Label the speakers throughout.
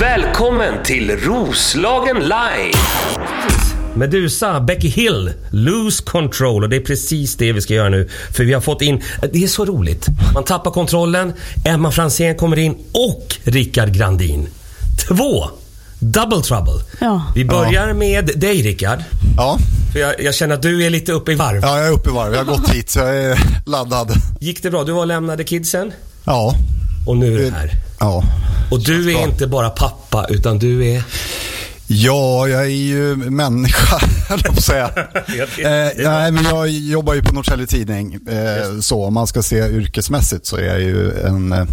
Speaker 1: Välkommen till Roslagen Live!
Speaker 2: Medusa, Becky Hill, Lose Control och det är precis det vi ska göra nu. För vi har fått in, det är så roligt. Man tappar kontrollen, Emma Fransén kommer in och Rickard Grandin. Två! Double trouble.
Speaker 3: Ja.
Speaker 2: Vi börjar med dig Rickard.
Speaker 4: Ja.
Speaker 2: För jag, jag känner att du är lite uppe i varv.
Speaker 4: ja, jag är uppe i varv. Jag har gått hit så jag är laddad.
Speaker 2: Gick det bra? Du var och lämnade kidsen
Speaker 4: Ja.
Speaker 2: och nu är du här.
Speaker 4: Ja.
Speaker 2: Och du är
Speaker 4: bra.
Speaker 2: inte bara pappa utan du är...
Speaker 4: Ja, jag är ju människa, höll jag på att säga. eh, nej, men jag jobbar ju på Norrtälje Tidning. Eh, så om man ska se yrkesmässigt så är jag ju en eh,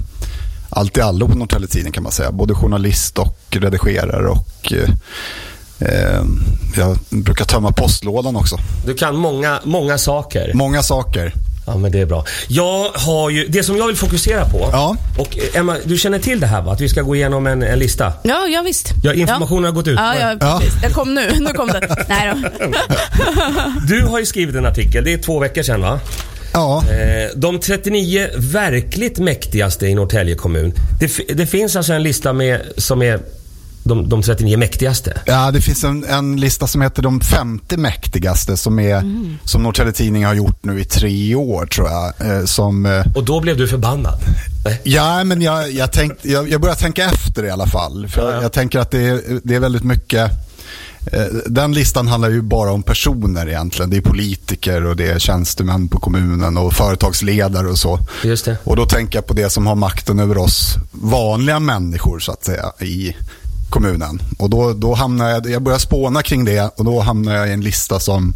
Speaker 4: allt i allo på Norrtälje Tidning kan man säga. Både journalist och redigerare och eh, eh, jag brukar tömma postlådan också.
Speaker 2: Du kan många, många saker.
Speaker 4: Många saker.
Speaker 2: Ja men det är bra. Jag har ju, det som jag vill fokusera på.
Speaker 4: Ja.
Speaker 2: Och eh, Emma, du känner till det här va? Att vi ska gå igenom en, en lista.
Speaker 3: Ja, ja visst.
Speaker 2: Ja, informationen har gått ut.
Speaker 3: Ja, ja,
Speaker 4: Ja.
Speaker 3: precis. Den kom nu. Nu kom den. Nej då.
Speaker 2: Du har ju skrivit en artikel, det är två veckor sedan va?
Speaker 4: Ja,
Speaker 2: Eh, De 39 verkligt mäktigaste i Norrtälje kommun. Det, fi- det finns alltså en lista med, som är de, de 39 mäktigaste.
Speaker 4: Ja, det finns en, en lista som heter de 50 mäktigaste som, är, som Norrtälje Tidning har gjort nu i tre år tror jag. Eh, som, eh,
Speaker 2: Och då blev du förbannad. Eh, Nej.
Speaker 4: ja, men jag, jag, tänkt, jag, jag börjar tänka efter i alla fall. För
Speaker 2: Ja, ja.
Speaker 4: jag, jag tänker att det är, det är väldigt mycket... eh, Den listan handlar ju bara om personer egentligen. Det är politiker och det är tjänstemän på kommunen och företagsledare och så.
Speaker 2: Just det.
Speaker 4: Och då tänker jag på det som har makten över oss vanliga människor så att säga i kommunen. Och då, då hamnar jag, jag börjar spåna kring det och då hamnar jag i en lista som,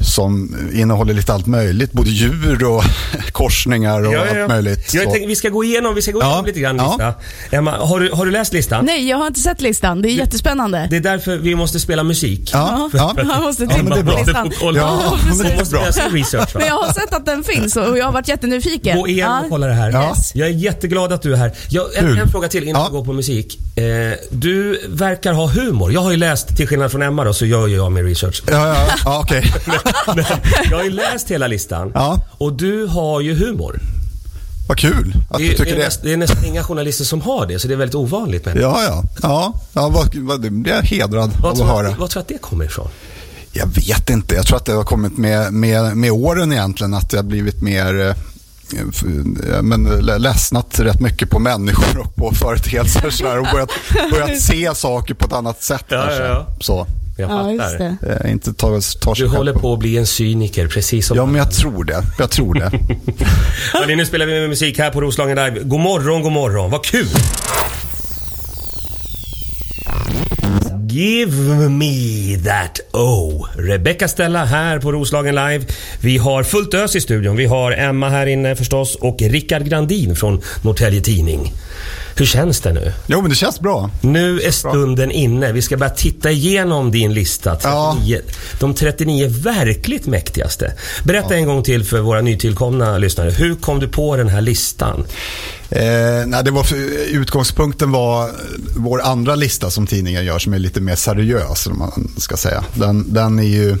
Speaker 4: som innehåller lite allt möjligt. Både djur och korsningar och allt möjligt.
Speaker 2: Jag
Speaker 4: Så-
Speaker 2: tänkte, vi ska gå igenom, vi ska gå
Speaker 4: Ja.
Speaker 2: igenom lite grann
Speaker 4: Ja.
Speaker 2: lista. Emma, har du, har du läst listan?
Speaker 3: Nej, jag har inte sett listan. Det är jättespännande.
Speaker 2: Det är därför vi måste spela musik.
Speaker 4: ja, ja.
Speaker 3: Jag måste
Speaker 2: Ja,
Speaker 3: titta
Speaker 2: men det är
Speaker 3: på
Speaker 2: bra.
Speaker 3: listan.
Speaker 2: Du får kolla.
Speaker 4: Ja,
Speaker 3: precis.
Speaker 4: men det är
Speaker 2: måste
Speaker 4: bra.
Speaker 2: göra sin research va?
Speaker 3: Men jag har sett att den finns och jag har varit jättenyfiken.
Speaker 2: Gå igenom och kolla det här.
Speaker 4: Ja.
Speaker 3: Yes.
Speaker 2: Jag är jätteglad att du är här. Jag, en,
Speaker 4: Kul.
Speaker 2: en fråga till innan
Speaker 4: Ja.
Speaker 2: vi går på musik. Eh, du verkar ha humor. Jag har ju läst, till skillnad från Emma då, så gör ju jag min research.
Speaker 4: Ja, ja, ja okej.
Speaker 2: Men jag har ju läst hela listan
Speaker 4: Ja.
Speaker 2: och du har ju humor.
Speaker 4: Vad kul
Speaker 2: Det
Speaker 4: att du
Speaker 2: är, det,
Speaker 4: tycker
Speaker 2: är
Speaker 4: det.
Speaker 2: näst, det är nästan inga journalister som har det, så det är väldigt ovanligt. Men.
Speaker 4: Ja, ja. ja, ja vad, vad, det blir jag hedrad
Speaker 2: Vad
Speaker 4: av att
Speaker 2: tror,
Speaker 4: höra.
Speaker 2: du- vad tror du att det kommer ifrån?
Speaker 4: Jag vet inte. Jag tror att det har kommit med, med, med åren egentligen. Att jag har blivit mer eh, f- eh, men, lä- ledsnat rätt mycket på människor och på företeelser så där, och börjat, börjat se saker på ett annat sätt.
Speaker 2: Ja,
Speaker 4: kanske.
Speaker 2: ja, ja.
Speaker 4: Så,
Speaker 2: Jag
Speaker 3: Ja,
Speaker 2: fattar.
Speaker 3: just det.
Speaker 4: eh, inte ta, tar sig
Speaker 2: Du
Speaker 4: själv
Speaker 2: håller på att bli en cyniker, precis som
Speaker 4: Ja, men jag tror det. Jag tror det.
Speaker 2: Hörrni, nu spelar vi med musik här på Roslagen Live. God morgon, god morgon. Vad kul! Give me that O. Rebecca Stella här på Roslagen Live. Vi har fullt ös i studion. Vi har Emma här inne förstås och Rickard Grandin från Norrtälje Tidning. Hur känns det nu?
Speaker 4: Jo, men det känns bra.
Speaker 2: Nu är stunden inne. Vi ska börja titta igenom din lista. 39, De 39 verkligt mäktigaste. Berätta en gång till för våra nytillkomna lyssnare. Hur kom du på den här listan?
Speaker 4: Eh, nej, det var för, utgångspunkten var vår andra lista som tidningen gör som är lite mer seriös. Om man ska säga. Den, den är ju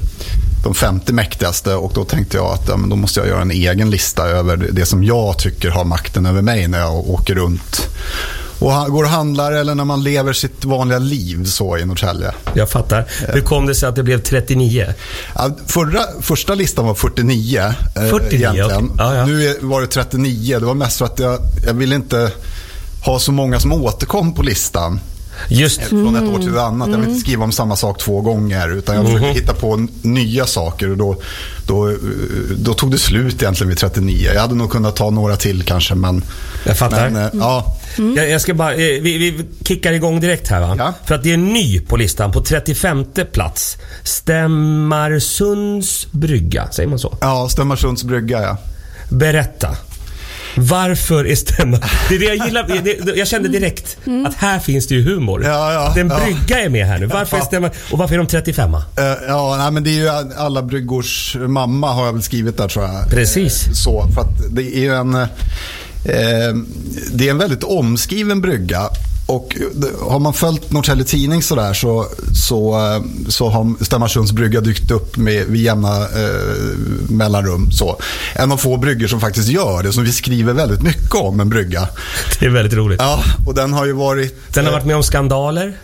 Speaker 4: de 50 mäktigaste och då tänkte jag att ja, men då måste jag göra en egen lista över det som jag tycker har makten över mig när jag åker runt och ha- går och handlar eller när man lever sitt vanliga liv så i Norrtälje.
Speaker 2: Jag fattar. Hur kom det sig att det blev 39?
Speaker 4: Ja, Förra, första listan var 49. eh,
Speaker 2: 49,
Speaker 4: egentligen.
Speaker 2: okej. Ja, ja.
Speaker 4: Nu är- var det 39. Det var mest för att jag, jag ville inte ha så många som återkom på listan.
Speaker 2: Just
Speaker 4: eh, Från ett år till ett annat. Jag vill inte skriva om samma sak två gånger. Utan jag
Speaker 2: Mhm.
Speaker 4: försökte hitta på n- nya saker. Och då, då, eh, då tog det slut egentligen vid 39. Jag hade nog kunnat ta några till kanske. Men,
Speaker 2: Jag fattar.
Speaker 4: Men, eh, ja,
Speaker 2: Jag, jag ska bara, eh, vi, vi kickar igång direkt här va?
Speaker 4: Ja.
Speaker 2: För att det är en ny på listan på 35 plats. Stämmarsunds brygga, säger man så?
Speaker 4: ja, Stämmarsunds brygga ja.
Speaker 2: Berätta. Varför är stämma... Det är det jag gillar. Det, det- jag kände direkt att här finns det ju humor.
Speaker 4: Mm. Ja, ja,
Speaker 2: Den
Speaker 4: ja.
Speaker 2: brygga är med här nu. Varför är stämma... Och varför är de 35
Speaker 4: Eh, Ja, nej, men det är ju alla bryggors mamma har jag väl skrivit där tror jag.
Speaker 2: Precis.
Speaker 4: Eh, Så, för att det är ju en, eh, det är en väldigt omskriven brygga. Och Och det- har man följt Norrtälje Tidning sådär så, så, eh, så har Stenungsunds brygga dykt upp med, vid jämna eh, mellanrum. Så. En av få bryggor som faktiskt gör det, som vi skriver väldigt mycket om, en brygga.
Speaker 2: Det är väldigt roligt.
Speaker 4: Ja, och den har ju varit...
Speaker 2: Den har varit med om skandaler.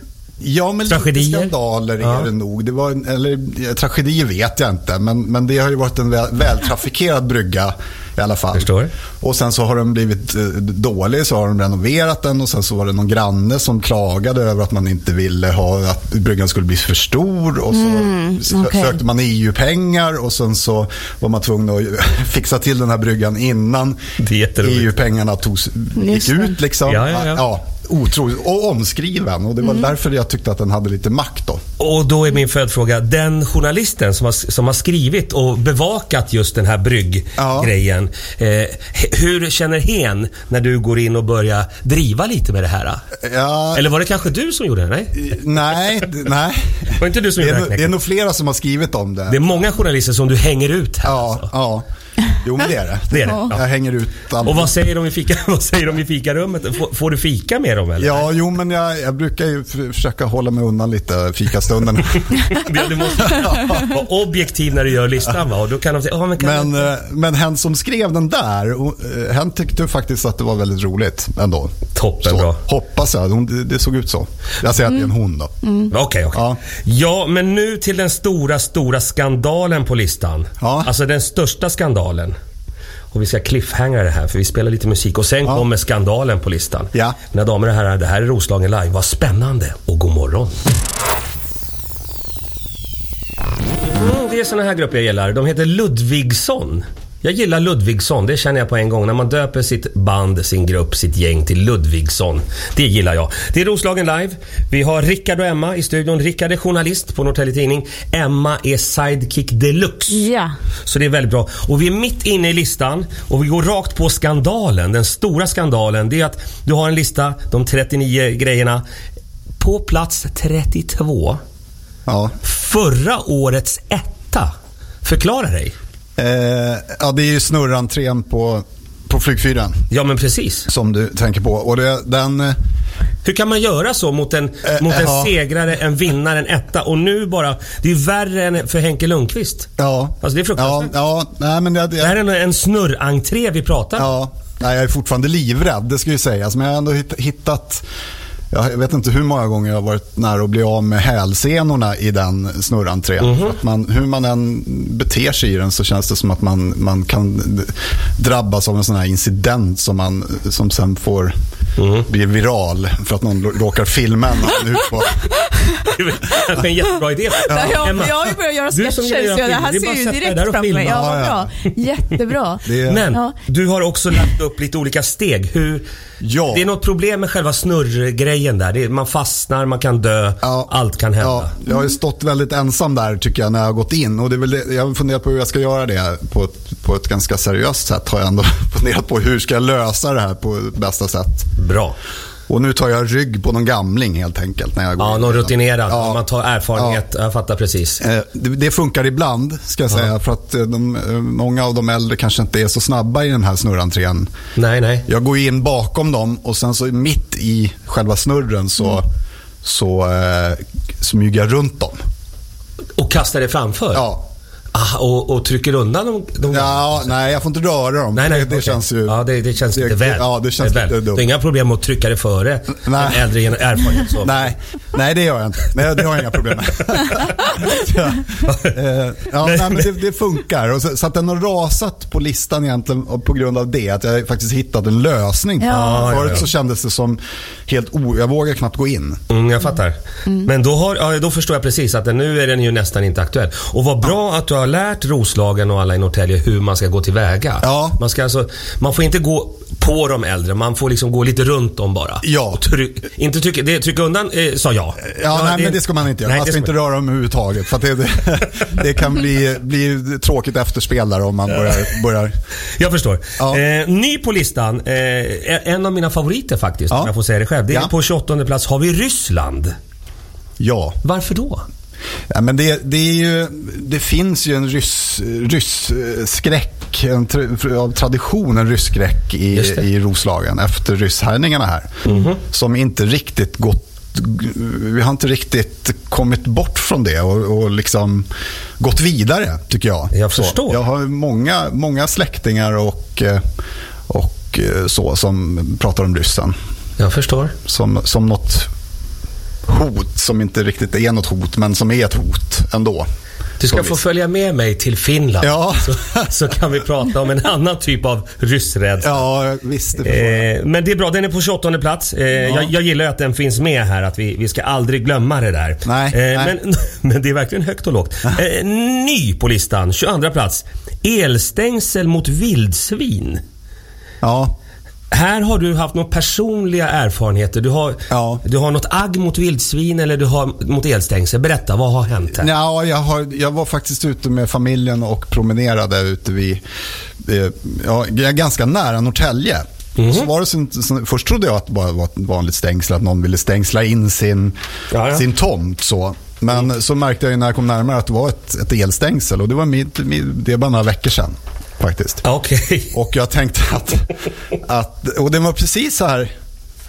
Speaker 4: Ja, men
Speaker 2: Tragedier?
Speaker 4: lite skandaler
Speaker 2: Ja.
Speaker 4: är det nog. Det var en, eller, eh, tragedier vet jag inte, men, men det har ju varit en väl, vältrafikerad brygga i alla fall.
Speaker 2: Förstår.
Speaker 4: Och sen så har den blivit eh, dålig, så har de renoverat den och sen så var det någon granne som klagade över att man inte ville ha att bryggan skulle bli för stor och så sö-
Speaker 3: Mm, okej.
Speaker 4: sökte man EU-pengar och sen så var man tvungen att fixa till den här bryggan innan
Speaker 2: Det är jätteroligt.
Speaker 4: EU-pengarna togs,
Speaker 3: Just
Speaker 4: gick
Speaker 3: det.
Speaker 4: ut. Liksom.
Speaker 2: Ja, ja, Mm. ja.
Speaker 4: otroligt. Och omskriven. Och det var därför jag tyckte att den hade lite makt då.
Speaker 2: Och då är min följdfråga, den journalisten som har, som har skrivit och bevakat just den här
Speaker 4: Ja.
Speaker 2: brygggrejen. Eh, he- hur känner hen när du går in och börjar driva lite med det här? då?
Speaker 4: Ja,
Speaker 2: Eller var det kanske du som gjorde det? Nej?
Speaker 4: eh, nej, d- nej.
Speaker 2: Var inte du som
Speaker 4: Det
Speaker 2: gjorde det?
Speaker 4: är,
Speaker 2: här
Speaker 4: nog- det är
Speaker 2: knäcket?
Speaker 4: nog flera som har skrivit om det.
Speaker 2: Det är många journalister som du hänger ut här.
Speaker 4: ja,
Speaker 2: alltså.
Speaker 4: ja. Jo, men det är det.
Speaker 2: Det är det. Ja.
Speaker 4: Jag hänger ut alla.
Speaker 2: Och vad säger de i, fika, vad säger de i fikarummet? Får, får du fika med dem eller?
Speaker 4: Ja, jo, men jag, jag brukar ju f- försöka hålla mig undan lite fikastunden.
Speaker 2: Det- Du måste vara objektiv när du gör listan va? Och då kan de säga, "Ja, men kan
Speaker 4: men, eh, men hen som skrev den där, och, eh, hen tyckte faktiskt att det var väldigt roligt ändå.
Speaker 2: Toppen,
Speaker 4: så,
Speaker 2: bra. Mm.
Speaker 4: Hoppas jag. Hon, det, det såg ut så. Jag säger att det är en hon då.
Speaker 2: Okej, okej.
Speaker 4: Ja.
Speaker 2: Ja, men nu till den stora, stora skandalen på listan.
Speaker 4: Ja.
Speaker 2: Alltså den största skandalen. Och vi ska cliffhangera det här för vi spelar lite musik och sen kommer skandalen på listan.
Speaker 4: Ja.
Speaker 2: Mina damer och herrar, det här är Roslagen live. Vad spännande och god morgon. Mm, det är såna här grupper jag gillar. De heter Ludvigsson. Jag gillar Ludvigsson, det känner jag på en gång. När man döper sitt band, sin grupp, sitt gäng till Ludvigsson. Det gillar jag. Det är Roslagen Live. Vi har Rickard och Emma i studion. Rickard är journalist på Norrtelje Tidning. Emma är sidekick deluxe.
Speaker 3: Ja.
Speaker 2: Så det är väldigt bra. Och vi är mitt inne i listan och vi går rakt på skandalen. Den stora skandalen. Det är att du har en lista, de 39 grejerna. På plats 32
Speaker 4: Ja.
Speaker 2: Förra årets etta. Förklara dig.
Speaker 4: Eh, ja, det är ju snurrentrén på, på flygfyren
Speaker 2: Ja men precis.
Speaker 4: som du tänker på. Och det, den, eh,
Speaker 2: Hur kan man göra så mot en, mot en
Speaker 4: ja.
Speaker 2: segrare, en vinnare, en etta och nu bara... Det är ju värre än för Henke Lundqvist.
Speaker 4: ja.
Speaker 2: Alltså, det är fruktansvärt.
Speaker 4: Ja, ja nej, men jag,
Speaker 2: Det
Speaker 4: jag,
Speaker 2: här är en, en snurrentré vi pratar om.
Speaker 4: ja, nej, jag är fortfarande livrädd, det ska ju sägas. Men jag har ändå hitt- hittat, jag vet inte hur många gånger jag har varit nära att bli av med hälsenorna i den snurrentrén. För att man, hur man än beter sig i den så känns det som att man, man kan drabbas av en sån här incident som, man, som sen får bli viral för att någon råkar filma en ut på
Speaker 2: Det är väl kanske en jättebra idé.
Speaker 3: Ja, jag,
Speaker 2: Emma,
Speaker 3: jag har ju börjat göra
Speaker 2: du som
Speaker 3: sketcher så
Speaker 2: gillar att
Speaker 3: det
Speaker 2: filma, det är bara att sätta dig
Speaker 3: här ser ju direkt
Speaker 2: där och
Speaker 3: framför mig.
Speaker 2: filma.
Speaker 3: Ja, vad
Speaker 4: Ja,
Speaker 3: bra. Jättebra.
Speaker 4: Det är-
Speaker 2: Men
Speaker 3: Ja.
Speaker 2: du har också lagt upp lite olika steg. Hur,
Speaker 4: Ja.
Speaker 2: Det är något problem med själva snurrgrejen där. Det är, man fastnar, man kan dö,
Speaker 4: Ja.
Speaker 2: allt kan hända.
Speaker 4: Ja, jag har ju stått väldigt ensam där tycker jag när jag har gått in. Och det är väl det, jag har funderat på hur jag ska göra det på ett, på ett ganska seriöst sätt. Har jag ändå funderat på hur ska jag lösa det här på bästa sätt.
Speaker 2: Bra.
Speaker 4: Och nu tar jag rygg på någon gamling helt enkelt. När jag går
Speaker 2: Ja,
Speaker 4: in.
Speaker 2: någon rutinerad.
Speaker 4: Ja.
Speaker 2: Man tar erfarenhet. Jag fattar precis.
Speaker 4: Eh, Det, det funkar ibland, ska jag säga. För att eh, de, eh, många av de äldre kanske inte är så snabba i den här snurrentrén.
Speaker 2: Nej, nej.
Speaker 4: Jag går ju in bakom dem och sen så mitt i själva snurren så, så eh, smyger jag runt dem.
Speaker 2: Och kastar det framför?
Speaker 4: Ja,
Speaker 2: Ah, och, och trycker undan de... de
Speaker 4: Ja, nej, jag får inte röra dem.
Speaker 2: Nej, nej,
Speaker 4: det, det
Speaker 2: okej.
Speaker 4: känns ju...
Speaker 2: Ja, det, det känns lite
Speaker 4: det-
Speaker 2: väl.
Speaker 4: Ja, det känns
Speaker 2: väl. Det
Speaker 4: lite
Speaker 2: är
Speaker 4: dumt.
Speaker 2: inga problem med att trycka det före
Speaker 4: Nej.
Speaker 2: en äldre gener- erfarenhet. Så.
Speaker 4: Nej, nej, det gör jag inte. Nej, det har jag inga problem med. ja, eh, ja, nej, men det, det funkar. Och så, så att den har rasat på listan egentligen och på grund av det. Att jag faktiskt hittat en lösning. på
Speaker 3: Ja.
Speaker 4: den.
Speaker 2: Ja, ja,
Speaker 4: Förut
Speaker 2: ja.
Speaker 4: så kändes det som helt o... Jag vågar knappt gå in.
Speaker 2: Mm, jag fattar. Men då, har, ja, då förstår jag precis att den, nu är den ju nästan inte aktuell. Och vad bra att du har lärt Roslagen och alla i Norrtälje hur man ska gå tillväga.
Speaker 4: Ja.
Speaker 2: Man, ska alltså, man får inte gå på de äldre, man får liksom gå lite runt dem bara.
Speaker 4: Ja.
Speaker 2: Och tryck, inte trycka, det, trycka undan eh, sa jag.
Speaker 4: Ja, nej, men det ska man inte göra.
Speaker 2: Nej,
Speaker 4: man
Speaker 2: det
Speaker 4: ska
Speaker 2: ska
Speaker 4: inte
Speaker 2: man-
Speaker 4: röra dem överhuvudtaget. För att det, det, det kan bli, bli tråkigt efterspel där om man börjar... börjar.
Speaker 2: Jag förstår.
Speaker 4: Ja.
Speaker 2: Eh, ny på listan, eh, en av mina favoriter faktiskt,
Speaker 4: Ja.
Speaker 2: om jag får säga det själv. Det är
Speaker 4: Ja.
Speaker 2: På 28 plats har vi Ryssland.
Speaker 4: Ja.
Speaker 2: Varför då?
Speaker 4: Ja, men det, det, är ju, det finns ju en ryss, ryss eh, skräck räck, en tr- av tradition en rysk räck i,
Speaker 2: Just det. Mhm.
Speaker 4: i Roslagen efter rysshärjningarna här. Som inte riktigt gått vi har inte riktigt kommit bort från det och, och liksom gått vidare, tycker jag.
Speaker 2: Jag
Speaker 4: Så.
Speaker 2: förstår.
Speaker 4: Jag har många, många släktingar och, eh, och eh, så som pratar om ryssen
Speaker 2: Jag förstår.
Speaker 4: som, som något hot som inte riktigt är något hot, men som är ett hot ändå.
Speaker 2: Du ska
Speaker 4: På
Speaker 2: få
Speaker 4: visst.
Speaker 2: följa med mig till Finland.
Speaker 4: Ja.
Speaker 2: Så, så kan vi prata om en annan typ av ryssrädsla.
Speaker 4: Ja, visst. Det förstår jag.
Speaker 2: Eh, men det är bra, den är på 28 plats. Eh, jag, jag gillar ju att den finns med här, att vi, vi ska aldrig glömma det där. Eh,
Speaker 4: Nej, nej.
Speaker 2: Men, men det är verkligen högt och lågt. Eh, ny på listan, 22 plats. Elstängsel mot vildsvin.
Speaker 4: ja.
Speaker 2: Här har du haft några personliga erfarenheter. Du har,
Speaker 4: Ja.
Speaker 2: du har något agg mot vildsvin eller du har mot elstängsel. Berätta, vad har hänt här?
Speaker 4: Ja, jag, har, jag var faktiskt ute med familjen och promenerade ute vid, eh, ja, ganska nära Norrtälje.
Speaker 2: Mhm.
Speaker 4: Så var det sin, så, först trodde jag att det bara var ett vanligt stängsel, att någon ville stängsla in sin,
Speaker 2: Ja, Mm. ja.
Speaker 4: sin tomt. Så. Men så märkte jag ju när jag kom närmare att det var ett, ett elstängsel och det var mitt, mitt, det är bara några veckor sedan faktiskt.
Speaker 2: Okej.
Speaker 4: Och jag tänkte att, att och den var precis så här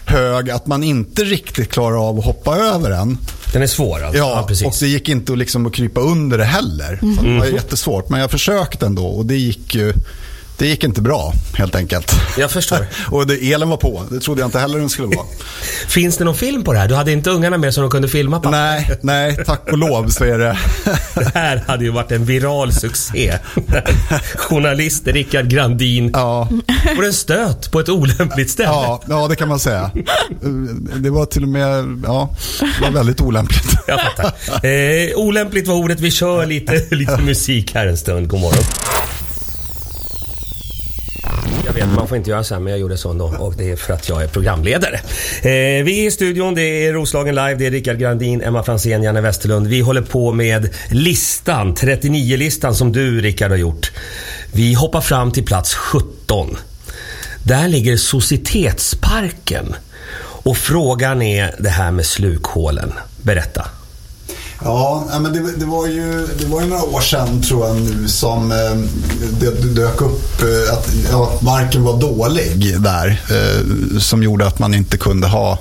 Speaker 4: hög att man inte riktigt klarar av att hoppa över den.
Speaker 2: Den är svår alltså.
Speaker 4: Ja, och det gick inte att, liksom, att krypa under det heller. Så det var
Speaker 2: Mhm.
Speaker 4: jättesvårt, men jag försökte ändå och det gick ju det gick inte bra helt enkelt.
Speaker 2: Jag förstår.
Speaker 4: och det, elen var på, det trodde jag inte heller den skulle vara.
Speaker 2: Finns det någon film på det här? Du hade inte ungarna med som de kunde filma på?
Speaker 4: nej, nej, tack och lov så är det.
Speaker 2: Det här hade ju varit en viral succé. Journalist Rickard Grandin
Speaker 4: ja,
Speaker 2: får en stöt på ett olämpligt ställe.
Speaker 4: ja, ja, det kan man säga. Det var till och med, ja, det var väldigt olämpligt.
Speaker 2: Jag fattar. Eh, olämpligt var ordet. Vi kör lite, lite musik här en stund. God morgon. Jag vet, man får inte göra så här, men jag gjorde så ändå. Och det är för att jag är programledare. Eh, vi är i studion, det är Roslagen Live, det är Rickard Grandin, Emma Franzén, Janne Westerlund. Vi håller på med listan, 39-listan som du Rickard har gjort. Vi hoppar fram till plats 17. Där ligger Societetsparken. Och frågan är det här med slukhålen. Berätta.
Speaker 4: Ja, ja, men det, det, var ju, det var ju några år sedan tror jag nu som eh, det dök upp eh, att, ja, att marken var dålig där. Eh, som gjorde att man inte kunde ha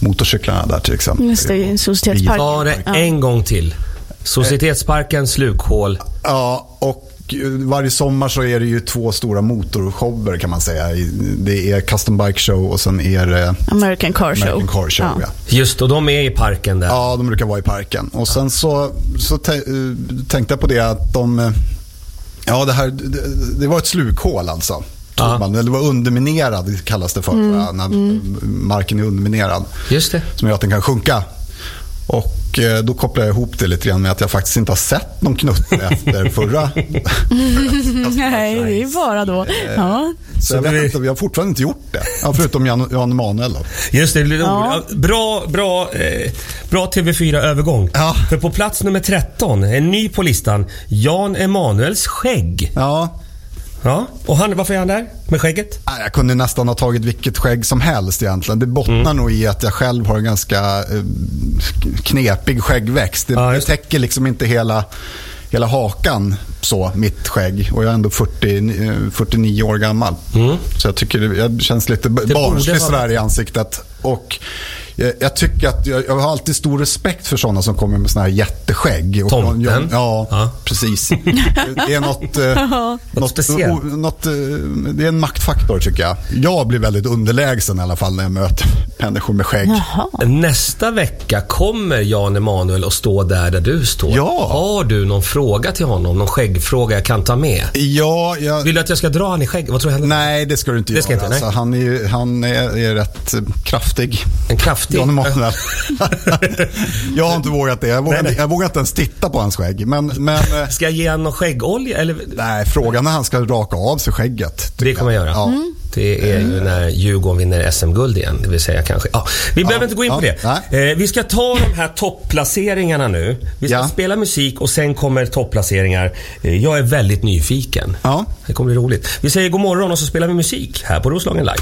Speaker 4: motorcyklarna där till exempel.
Speaker 3: Just det, i Societetsparken.
Speaker 2: Ta det en gång till. Societetsparken, slukhål.
Speaker 4: Ja, och eh, varje sommar så är det ju två stora motorshower kan man säga. I- Det är Custom Bike Show och sen är det
Speaker 3: American Car Show.
Speaker 4: American Car Show. Ja.
Speaker 2: Just och de är i parken där.
Speaker 4: Ja, de brukar vara i parken. Och sen så, så tä- eh, tänkte jag på det att de... eh, Ja, det, här, det, det var ett slukhål alltså. tror
Speaker 2: Ja.
Speaker 4: Man. Eller Det var underminerad, kallas det för, tror jag, när marken är underminerad.
Speaker 2: Just det.
Speaker 4: Som gör att den kan sjunka. Och eh, då kopplar jag ihop det lite grann med att jag faktiskt inte har sett någon knutte efter förra.
Speaker 3: Nej, det är bara då.
Speaker 4: Eh.
Speaker 3: Ja.
Speaker 4: Så jag,
Speaker 2: det
Speaker 4: vet
Speaker 2: blir-
Speaker 4: inte, jag har fortfarande inte gjort det. Ja, förutom Jan, Jan Emanuel. Då.
Speaker 2: Just det, det är lite
Speaker 3: Ja.
Speaker 2: ord- bra, bra, eh, bra TV4-övergång.
Speaker 4: Ja.
Speaker 2: För på plats nummer 13, en ny på listan, Jan Emanuels skägg.
Speaker 4: Ja,
Speaker 2: Ja, och han, varför är han där med skägget?
Speaker 4: Nej, Jag kunde nästan ha tagit vilket skägg som helst egentligen. Det bottnar
Speaker 2: Mm.
Speaker 4: nog i att jag själv har en ganska eh, knepig skäggväxt. Det,
Speaker 2: Ja,
Speaker 4: det
Speaker 2: just det.
Speaker 4: täcker liksom inte hela, hela hakan, så, mitt skägg. Och jag är ändå 40, eh, 49 år gammal. Så jag tycker det jag känns lite b-
Speaker 2: Mm. borde
Speaker 4: barnslig
Speaker 2: vara-
Speaker 4: sådär i ansiktet. Och jag, jag tycker att jag, jag har alltid stor respekt för sådana som kommer med sådana här jätteskägg. Och
Speaker 2: Tomten.
Speaker 4: Ja, ja,
Speaker 2: Ja.
Speaker 4: precis. Det- Det är något... Eh,
Speaker 2: Något speciellt.
Speaker 4: o- något, eh, det är en maktfaktor tycker jag. Jag blir väldigt underlägsen i alla fall när jag möter människor med skägg.
Speaker 3: Jaha.
Speaker 2: Nästa vecka kommer Jan Emanuel att stå där där du står.
Speaker 4: Ja.
Speaker 2: Har du någon fråga till honom? Någon skäggfråga jag kan ta med?
Speaker 4: Ja, jag,
Speaker 2: Vill du att jag ska dra han i skägg? Vad tror du händer?
Speaker 4: nej det ska du inte
Speaker 2: Det
Speaker 4: göra.
Speaker 2: ska inte, nej.
Speaker 4: alltså, han är, ju- han är, är rätt eh, kraftig.
Speaker 2: En kraftig...
Speaker 4: Jan Emanuel. jag har inte vågat det. Jag vågar,
Speaker 2: Nej, nej.
Speaker 4: jag vågar inte ens titta på hans skägg. Men, men eh,
Speaker 2: Ska jag ge honom någon skäggolja? Eller?
Speaker 4: nej, frågan när han ska raka av sig skägget.
Speaker 2: Det kommer jag göra. Mm.
Speaker 4: Ja.
Speaker 2: Det är ju när Djurgården vinner SM-guld igen. Det vill säga kanske. Ja, vi behöver inte gå in på
Speaker 4: ja,
Speaker 2: det. Eh, vi ska ta de här topplaceringarna nu. Vi ska
Speaker 4: Ja.
Speaker 2: spela musik och sen kommer topplaceringar. Eh, jag är väldigt nyfiken.
Speaker 4: Ja.
Speaker 2: Det kommer bli roligt. Vi säger god morgon och så spelar vi musik här på Roslagen Live.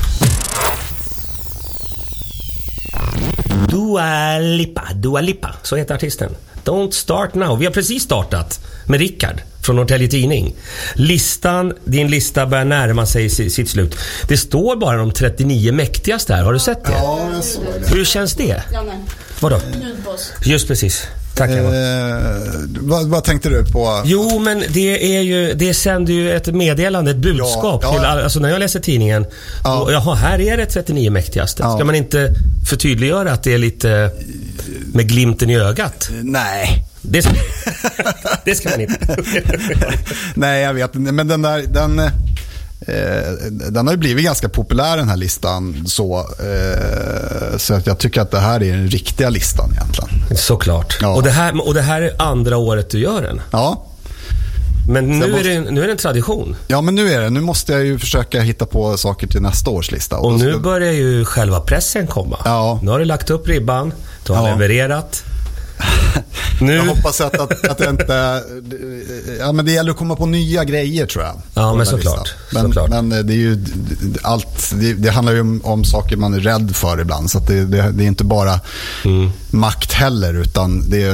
Speaker 2: Dua Lipa, Dua Lipa. Så heter artisten. Don't start now. Vi har precis startat med Rickard. från Norrtelje Tidning. Listan, din lista börjar närma sig si- sitt slut. Det står bara de 39 mäktigaste här. Har du sett det?
Speaker 4: Ja, jag såg det.
Speaker 2: Hur känns det? Vadå? Just precis. Tack Emma.
Speaker 4: Eh, vad, vad tänkte du på?
Speaker 2: Jo, men det, är ju, det sänder ju ett meddelande, ett budskap.
Speaker 4: ja.
Speaker 2: Till, all- alltså när jag läser tidningen.
Speaker 4: Ja.
Speaker 2: Då, jaha, här är det 39 mäktigaste.
Speaker 4: Ja.
Speaker 2: Ska man inte förtydliggöra att det är lite med glimten i ögat?
Speaker 4: Nej.
Speaker 2: Det ska, det ska man inte.
Speaker 4: Nej, jag vet inte. Men den där, den, eh, den har ju blivit ganska populär den här listan. Så, eh, så att jag tycker att det här är den riktiga listan egentligen.
Speaker 2: Såklart.
Speaker 4: Ja.
Speaker 2: Och, det här, och det här är andra året du gör den.
Speaker 4: Ja,
Speaker 2: Men nu,
Speaker 4: jag måste-
Speaker 2: är det, nu är det en tradition.
Speaker 4: ja men nu är det. Nu måste jag ju försöka hitta på saker till nästa års lista.
Speaker 2: Och
Speaker 4: då
Speaker 2: nu
Speaker 4: ska-
Speaker 2: börjar ju själva pressen komma.
Speaker 4: Ja.
Speaker 2: Nu har du lagt upp ribban, du har
Speaker 4: Ja.
Speaker 2: levererat. Nu...
Speaker 4: Jag hoppas att, att, att jag inte... Ja, men det gäller att komma på nya grejer tror jag.
Speaker 2: Ja,
Speaker 4: på
Speaker 2: men
Speaker 4: den här
Speaker 2: såklart.
Speaker 4: listan. Men,
Speaker 2: Såklart.
Speaker 4: men eh, det är ju allt... Det, det handlar ju om, om saker man är rädd för ibland. Så att det, det, det är inte bara makt heller, utan det,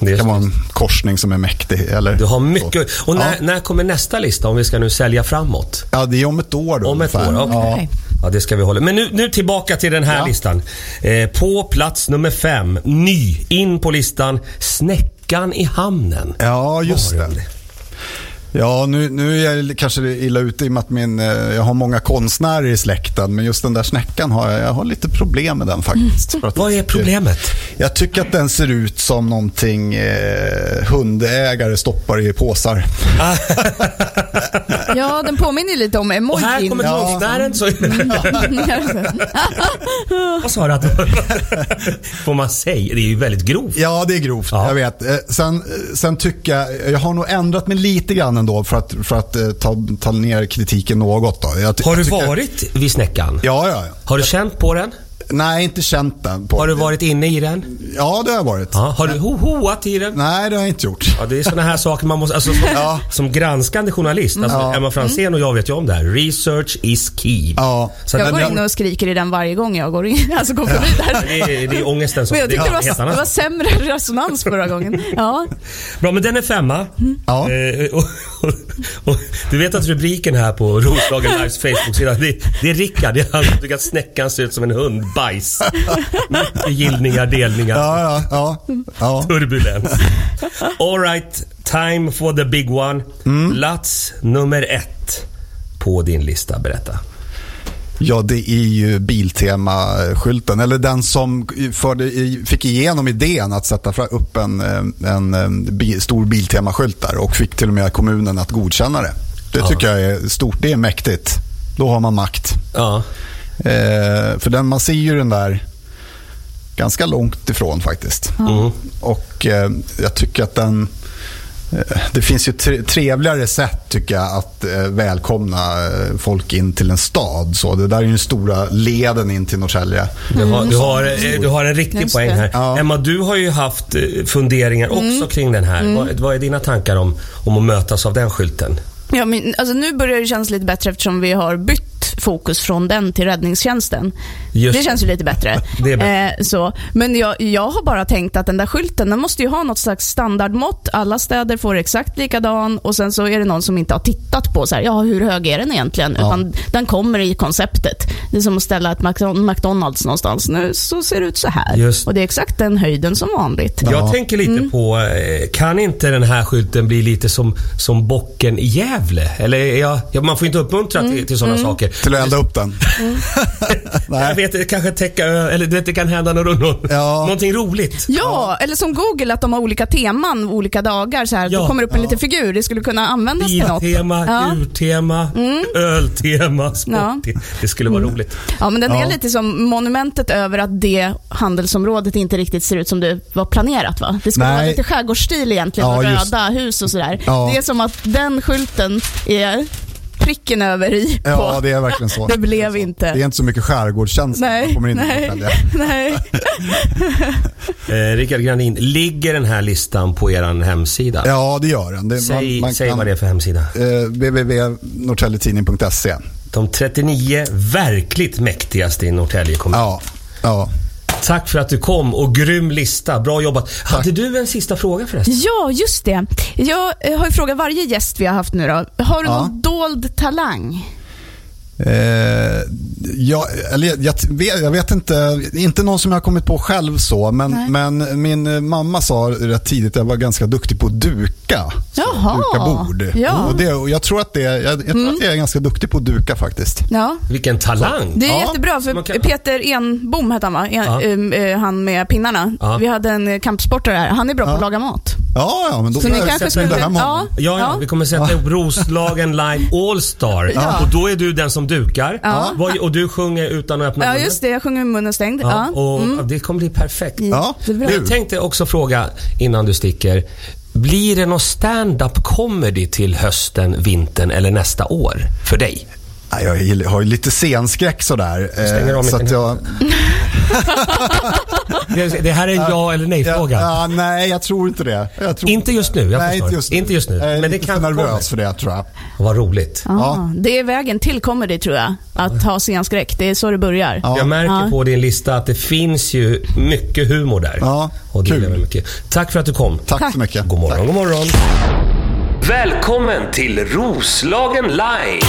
Speaker 2: Mm. Det är
Speaker 4: kan vara en korsning som är mäktig. Eller?
Speaker 2: Du har mycket.
Speaker 4: Så.
Speaker 2: Och när,
Speaker 4: Ja.
Speaker 2: när kommer nästa lista om vi ska nu sälja framåt?
Speaker 4: Ja, det är om ett år då.
Speaker 2: Om ett
Speaker 4: ungefär.
Speaker 2: år, okej.
Speaker 4: Ja.
Speaker 3: Nej.
Speaker 2: Ja, det ska vi hålla. Men nu, nu tillbaka till den här
Speaker 4: Ja.
Speaker 2: listan. Eh, på plats nummer fem, ny, in på listan, Snäckan i hamnen.
Speaker 4: Ja, just
Speaker 2: Vad har du
Speaker 4: det. Ja, nu, nu är jag kanske illa ute i och med att min, eh, jag har många konstnärer i släkten. Men just den där snäckan har jag, jag har lite problem med den faktiskt. För att-
Speaker 2: Mm. Vad är problemet?
Speaker 4: Jag tycker att den ser ut som någonting eh, hundägare stoppar i påsar.
Speaker 3: Ja, den påminner ju lite om
Speaker 2: Och här
Speaker 3: emojin.
Speaker 2: kommer
Speaker 4: Ja.
Speaker 2: konstnären. Så... Vad sa du att Får man säga? Det är ju väldigt grovt.
Speaker 4: Ja, det är grovt.
Speaker 2: Ja.
Speaker 4: Jag vet. Eh, Sen, eh, sen tycker jag, jag har nog ändrat mig lite grann ändå för att, för att eh, ta, ta ner kritiken något. Då. Jag, ty-
Speaker 2: Har du
Speaker 4: jag tycker-
Speaker 2: varit vid Snäckan?
Speaker 4: Ja, ja, ja.
Speaker 2: Har du känt på den?
Speaker 4: Nej, inte känt den. På.
Speaker 2: Har du varit inne i den?
Speaker 4: Ja, det har jag varit.
Speaker 2: Ja. Har du ho-hoat i den?
Speaker 4: Nej, det har jag inte gjort.
Speaker 2: Ja, det är såna här saker man måste... Alltså, som,
Speaker 4: Ja.
Speaker 2: som granskande journalist, alltså, Emma Franzén och jag vet ju om det här. Research is key.
Speaker 4: Ja.
Speaker 2: Så att
Speaker 3: Jag
Speaker 2: den,
Speaker 3: går in och skriker i den varje gång jag går in, alltså går förbi
Speaker 2: det,
Speaker 3: där.
Speaker 2: är, det är ångesten som...
Speaker 3: Men jag
Speaker 2: det är
Speaker 3: tyckte det var,
Speaker 2: helt
Speaker 3: det
Speaker 2: annat.
Speaker 3: var sämre resonans förra gången. Ja.
Speaker 2: Bra, men den är femma.
Speaker 4: Ja.
Speaker 2: Eh, och, och, och, du vet att rubriken här på Roslagen Lives Facebook-sida, det, det är Rickard. Det är han som tycker att snäckan ser ut som en hundbajs. Mycket gillningar, delningar.
Speaker 4: Ja, ja, ja. ja.
Speaker 2: Turbulens. All right, time for the big one.
Speaker 4: Mm.
Speaker 2: Plats nummer ett på din lista. Berätta.
Speaker 4: Ja, det är ju Biltema-skylten. Eller den som förde, i- fick igenom idén att sätta fra- upp en, eh, en, eh, bi, stor Biltema-skylt där och fick till och med kommunen att godkänna det. Det tycker jag är stort. Det är mäktigt. Då har man makt.
Speaker 2: Ja.
Speaker 4: Eh, för den, man ser ju den där ganska långt ifrån faktiskt.
Speaker 3: Mm.
Speaker 4: Och eh, jag tycker att den... eh, Det finns ju tre- trevligare sätt tycker jag att eh, välkomna eh, folk in till en stad. Så det där är ju den stora leden in till Norrtälje.
Speaker 3: Mm.
Speaker 2: Du har, du, har, eh, du har en riktig
Speaker 3: Just
Speaker 2: poäng
Speaker 3: det. Mm.
Speaker 2: här.
Speaker 4: Ja.
Speaker 2: Emma, du har ju haft eh, funderingar också kring den här. Vad, vad är dina tankar om, om att mötas av den skylten?
Speaker 3: Ja, men, alltså, nu börjar det kännas lite bättre eftersom vi har bytt fokus från den till räddningstjänsten.
Speaker 2: Just
Speaker 3: det
Speaker 2: det.
Speaker 3: känns ju lite bättre.
Speaker 2: Det är
Speaker 3: Eh, så. Men jag, jag har bara tänkt att den där skylten, den måste ju ha något slags standardmått. Alla städer får exakt likadan och sen så är det någon som inte har tittat på så här, ja, hur hög är den egentligen? Utan den kommer i konceptet. Det är som att ställa ett Macdo- McDonalds någonstans. Nu så ser det ut så här.
Speaker 2: Just.
Speaker 3: Och det är exakt den höjden som vanligt.
Speaker 2: Jag tänker lite
Speaker 3: Mm.
Speaker 2: på, eh, kan inte den här skylten bli lite som, som bocken i Gävle? Eller är jag, ja, man får inte uppmuntra
Speaker 3: Mm.
Speaker 2: till, till sådana saker.
Speaker 4: Till att elda upp den.
Speaker 2: Jag vet, det kanske täcka, ö- eller du vet, det kan hända något, något,
Speaker 4: Ja.
Speaker 2: någonting roligt.
Speaker 3: Ja, eller som Google, att de har olika teman olika dagar. Så här.
Speaker 2: Ja.
Speaker 3: Då kommer det upp en liten figur. Det skulle kunna användas till något.
Speaker 2: Biltema,
Speaker 3: Ja. Mm.
Speaker 2: djurtema, öltema, sporttema. Det skulle vara roligt.
Speaker 3: ja, men den är lite som monumentet över att det handelsområdet inte riktigt ser ut som det var planerat. Va? Det ska
Speaker 4: Nej.
Speaker 3: vara lite skärgårdsstil egentligen
Speaker 4: Ja,
Speaker 3: och
Speaker 4: just-
Speaker 3: röda hus och sådär.
Speaker 4: Ja.
Speaker 3: Det är som att den skylten är pricken över i. På.
Speaker 4: Ja, det är verkligen så.
Speaker 3: Det blev inte.
Speaker 4: Det är inte så mycket skärgårdskänsla när man
Speaker 3: Nej,
Speaker 4: kommer in i
Speaker 3: nej,
Speaker 4: Norrtälje.
Speaker 3: nej.
Speaker 2: Eh, Rickard Granin, ligger den här listan på er hemsida?
Speaker 4: Ja, det gör den. Det,
Speaker 2: Säg, säg vad det är för hemsida.
Speaker 4: eh, www.norrtäljetidning.se
Speaker 2: De 39 verkligt mäktigaste i Norrtälje kommun.
Speaker 4: Ja, ja.
Speaker 2: Tack för att du kom och grym lista. Bra jobbat. Hade du en sista fråga förresten?
Speaker 3: Ja, just det. Jag eh, har ju frågat varje gäst vi har haft nu då. Har du
Speaker 4: Ja.
Speaker 3: någon dold talang?
Speaker 4: Eh, jag, eller jag, jag, vet, jag vet inte, inte någon som jag har kommit på själv så, men,
Speaker 3: Nej.
Speaker 4: men min eh, mamma sa rätt tidigt att jag var ganska duktig på att duka. Så,
Speaker 3: Jaha.
Speaker 4: Duka bord.
Speaker 3: Ja. Mm.
Speaker 4: Och, det, och jag tror, att, det, jag, jag, tror att jag är ganska duktig på att duka faktiskt.
Speaker 3: Ja.
Speaker 2: Vilken talang.
Speaker 3: Det är
Speaker 4: Ja,
Speaker 3: jättebra, för
Speaker 2: man kan-
Speaker 3: Peter Enbom hette han va? En,
Speaker 2: Ja.
Speaker 3: em, eh, han med pinnarna.
Speaker 2: Ja.
Speaker 3: Vi hade en eh, kampsportare här. Han är bra på att laga mat.
Speaker 4: Ja, ja men då
Speaker 3: Så ni
Speaker 4: får jag
Speaker 3: kanske skulle...
Speaker 4: sätta mig där med honom.
Speaker 2: Ja, ja, vi kommer sätta upp Roslagen Live All-Star.
Speaker 3: Ja.
Speaker 2: Och då är du den som dukar.
Speaker 3: Ja.
Speaker 2: Vad- Och du sjunger utan att öppna
Speaker 3: Ja,
Speaker 2: munnen.
Speaker 3: just det. Jag sjunger med munnen stängd.
Speaker 2: Ja,
Speaker 3: Ja. Mm.
Speaker 2: och ja, Det kommer bli perfekt.
Speaker 4: Ja,
Speaker 3: Jättebra.
Speaker 2: Jag tänkte också fråga innan du sticker. Blir det någon stand-up comedy till hösten, vintern eller nästa år för dig?
Speaker 4: Ja, Jag gill- har ju lite scenskräck sådär. eh,
Speaker 2: stänger av
Speaker 4: så
Speaker 2: micken.
Speaker 4: att jag,
Speaker 2: Det det här är en ja eller nej-fråga.
Speaker 4: Ja, nej, jag tror inte det. Jag tror
Speaker 2: Inte just nu, jag
Speaker 4: nej,
Speaker 2: förstår.
Speaker 4: inte just nu.
Speaker 2: Inte just nu,
Speaker 4: Jag är
Speaker 2: men det
Speaker 4: lite
Speaker 2: kanske
Speaker 4: nervös
Speaker 2: kommer.
Speaker 4: för det tror jag.
Speaker 2: Vad roligt.
Speaker 3: Ah, Det är vägen till comedy tror jag. Att ha scenskräck. Det är så det börjar.
Speaker 4: Ja.
Speaker 2: Jag märker
Speaker 3: Ja.
Speaker 2: på din lista att det finns ju mycket humor där.
Speaker 4: Ja,
Speaker 2: och det
Speaker 4: kul.
Speaker 2: gillar vi mycket. Tack för att du kom.
Speaker 4: Tack, så mycket.
Speaker 2: God morgon, god morgon.
Speaker 1: Välkommen till Roslagen Live!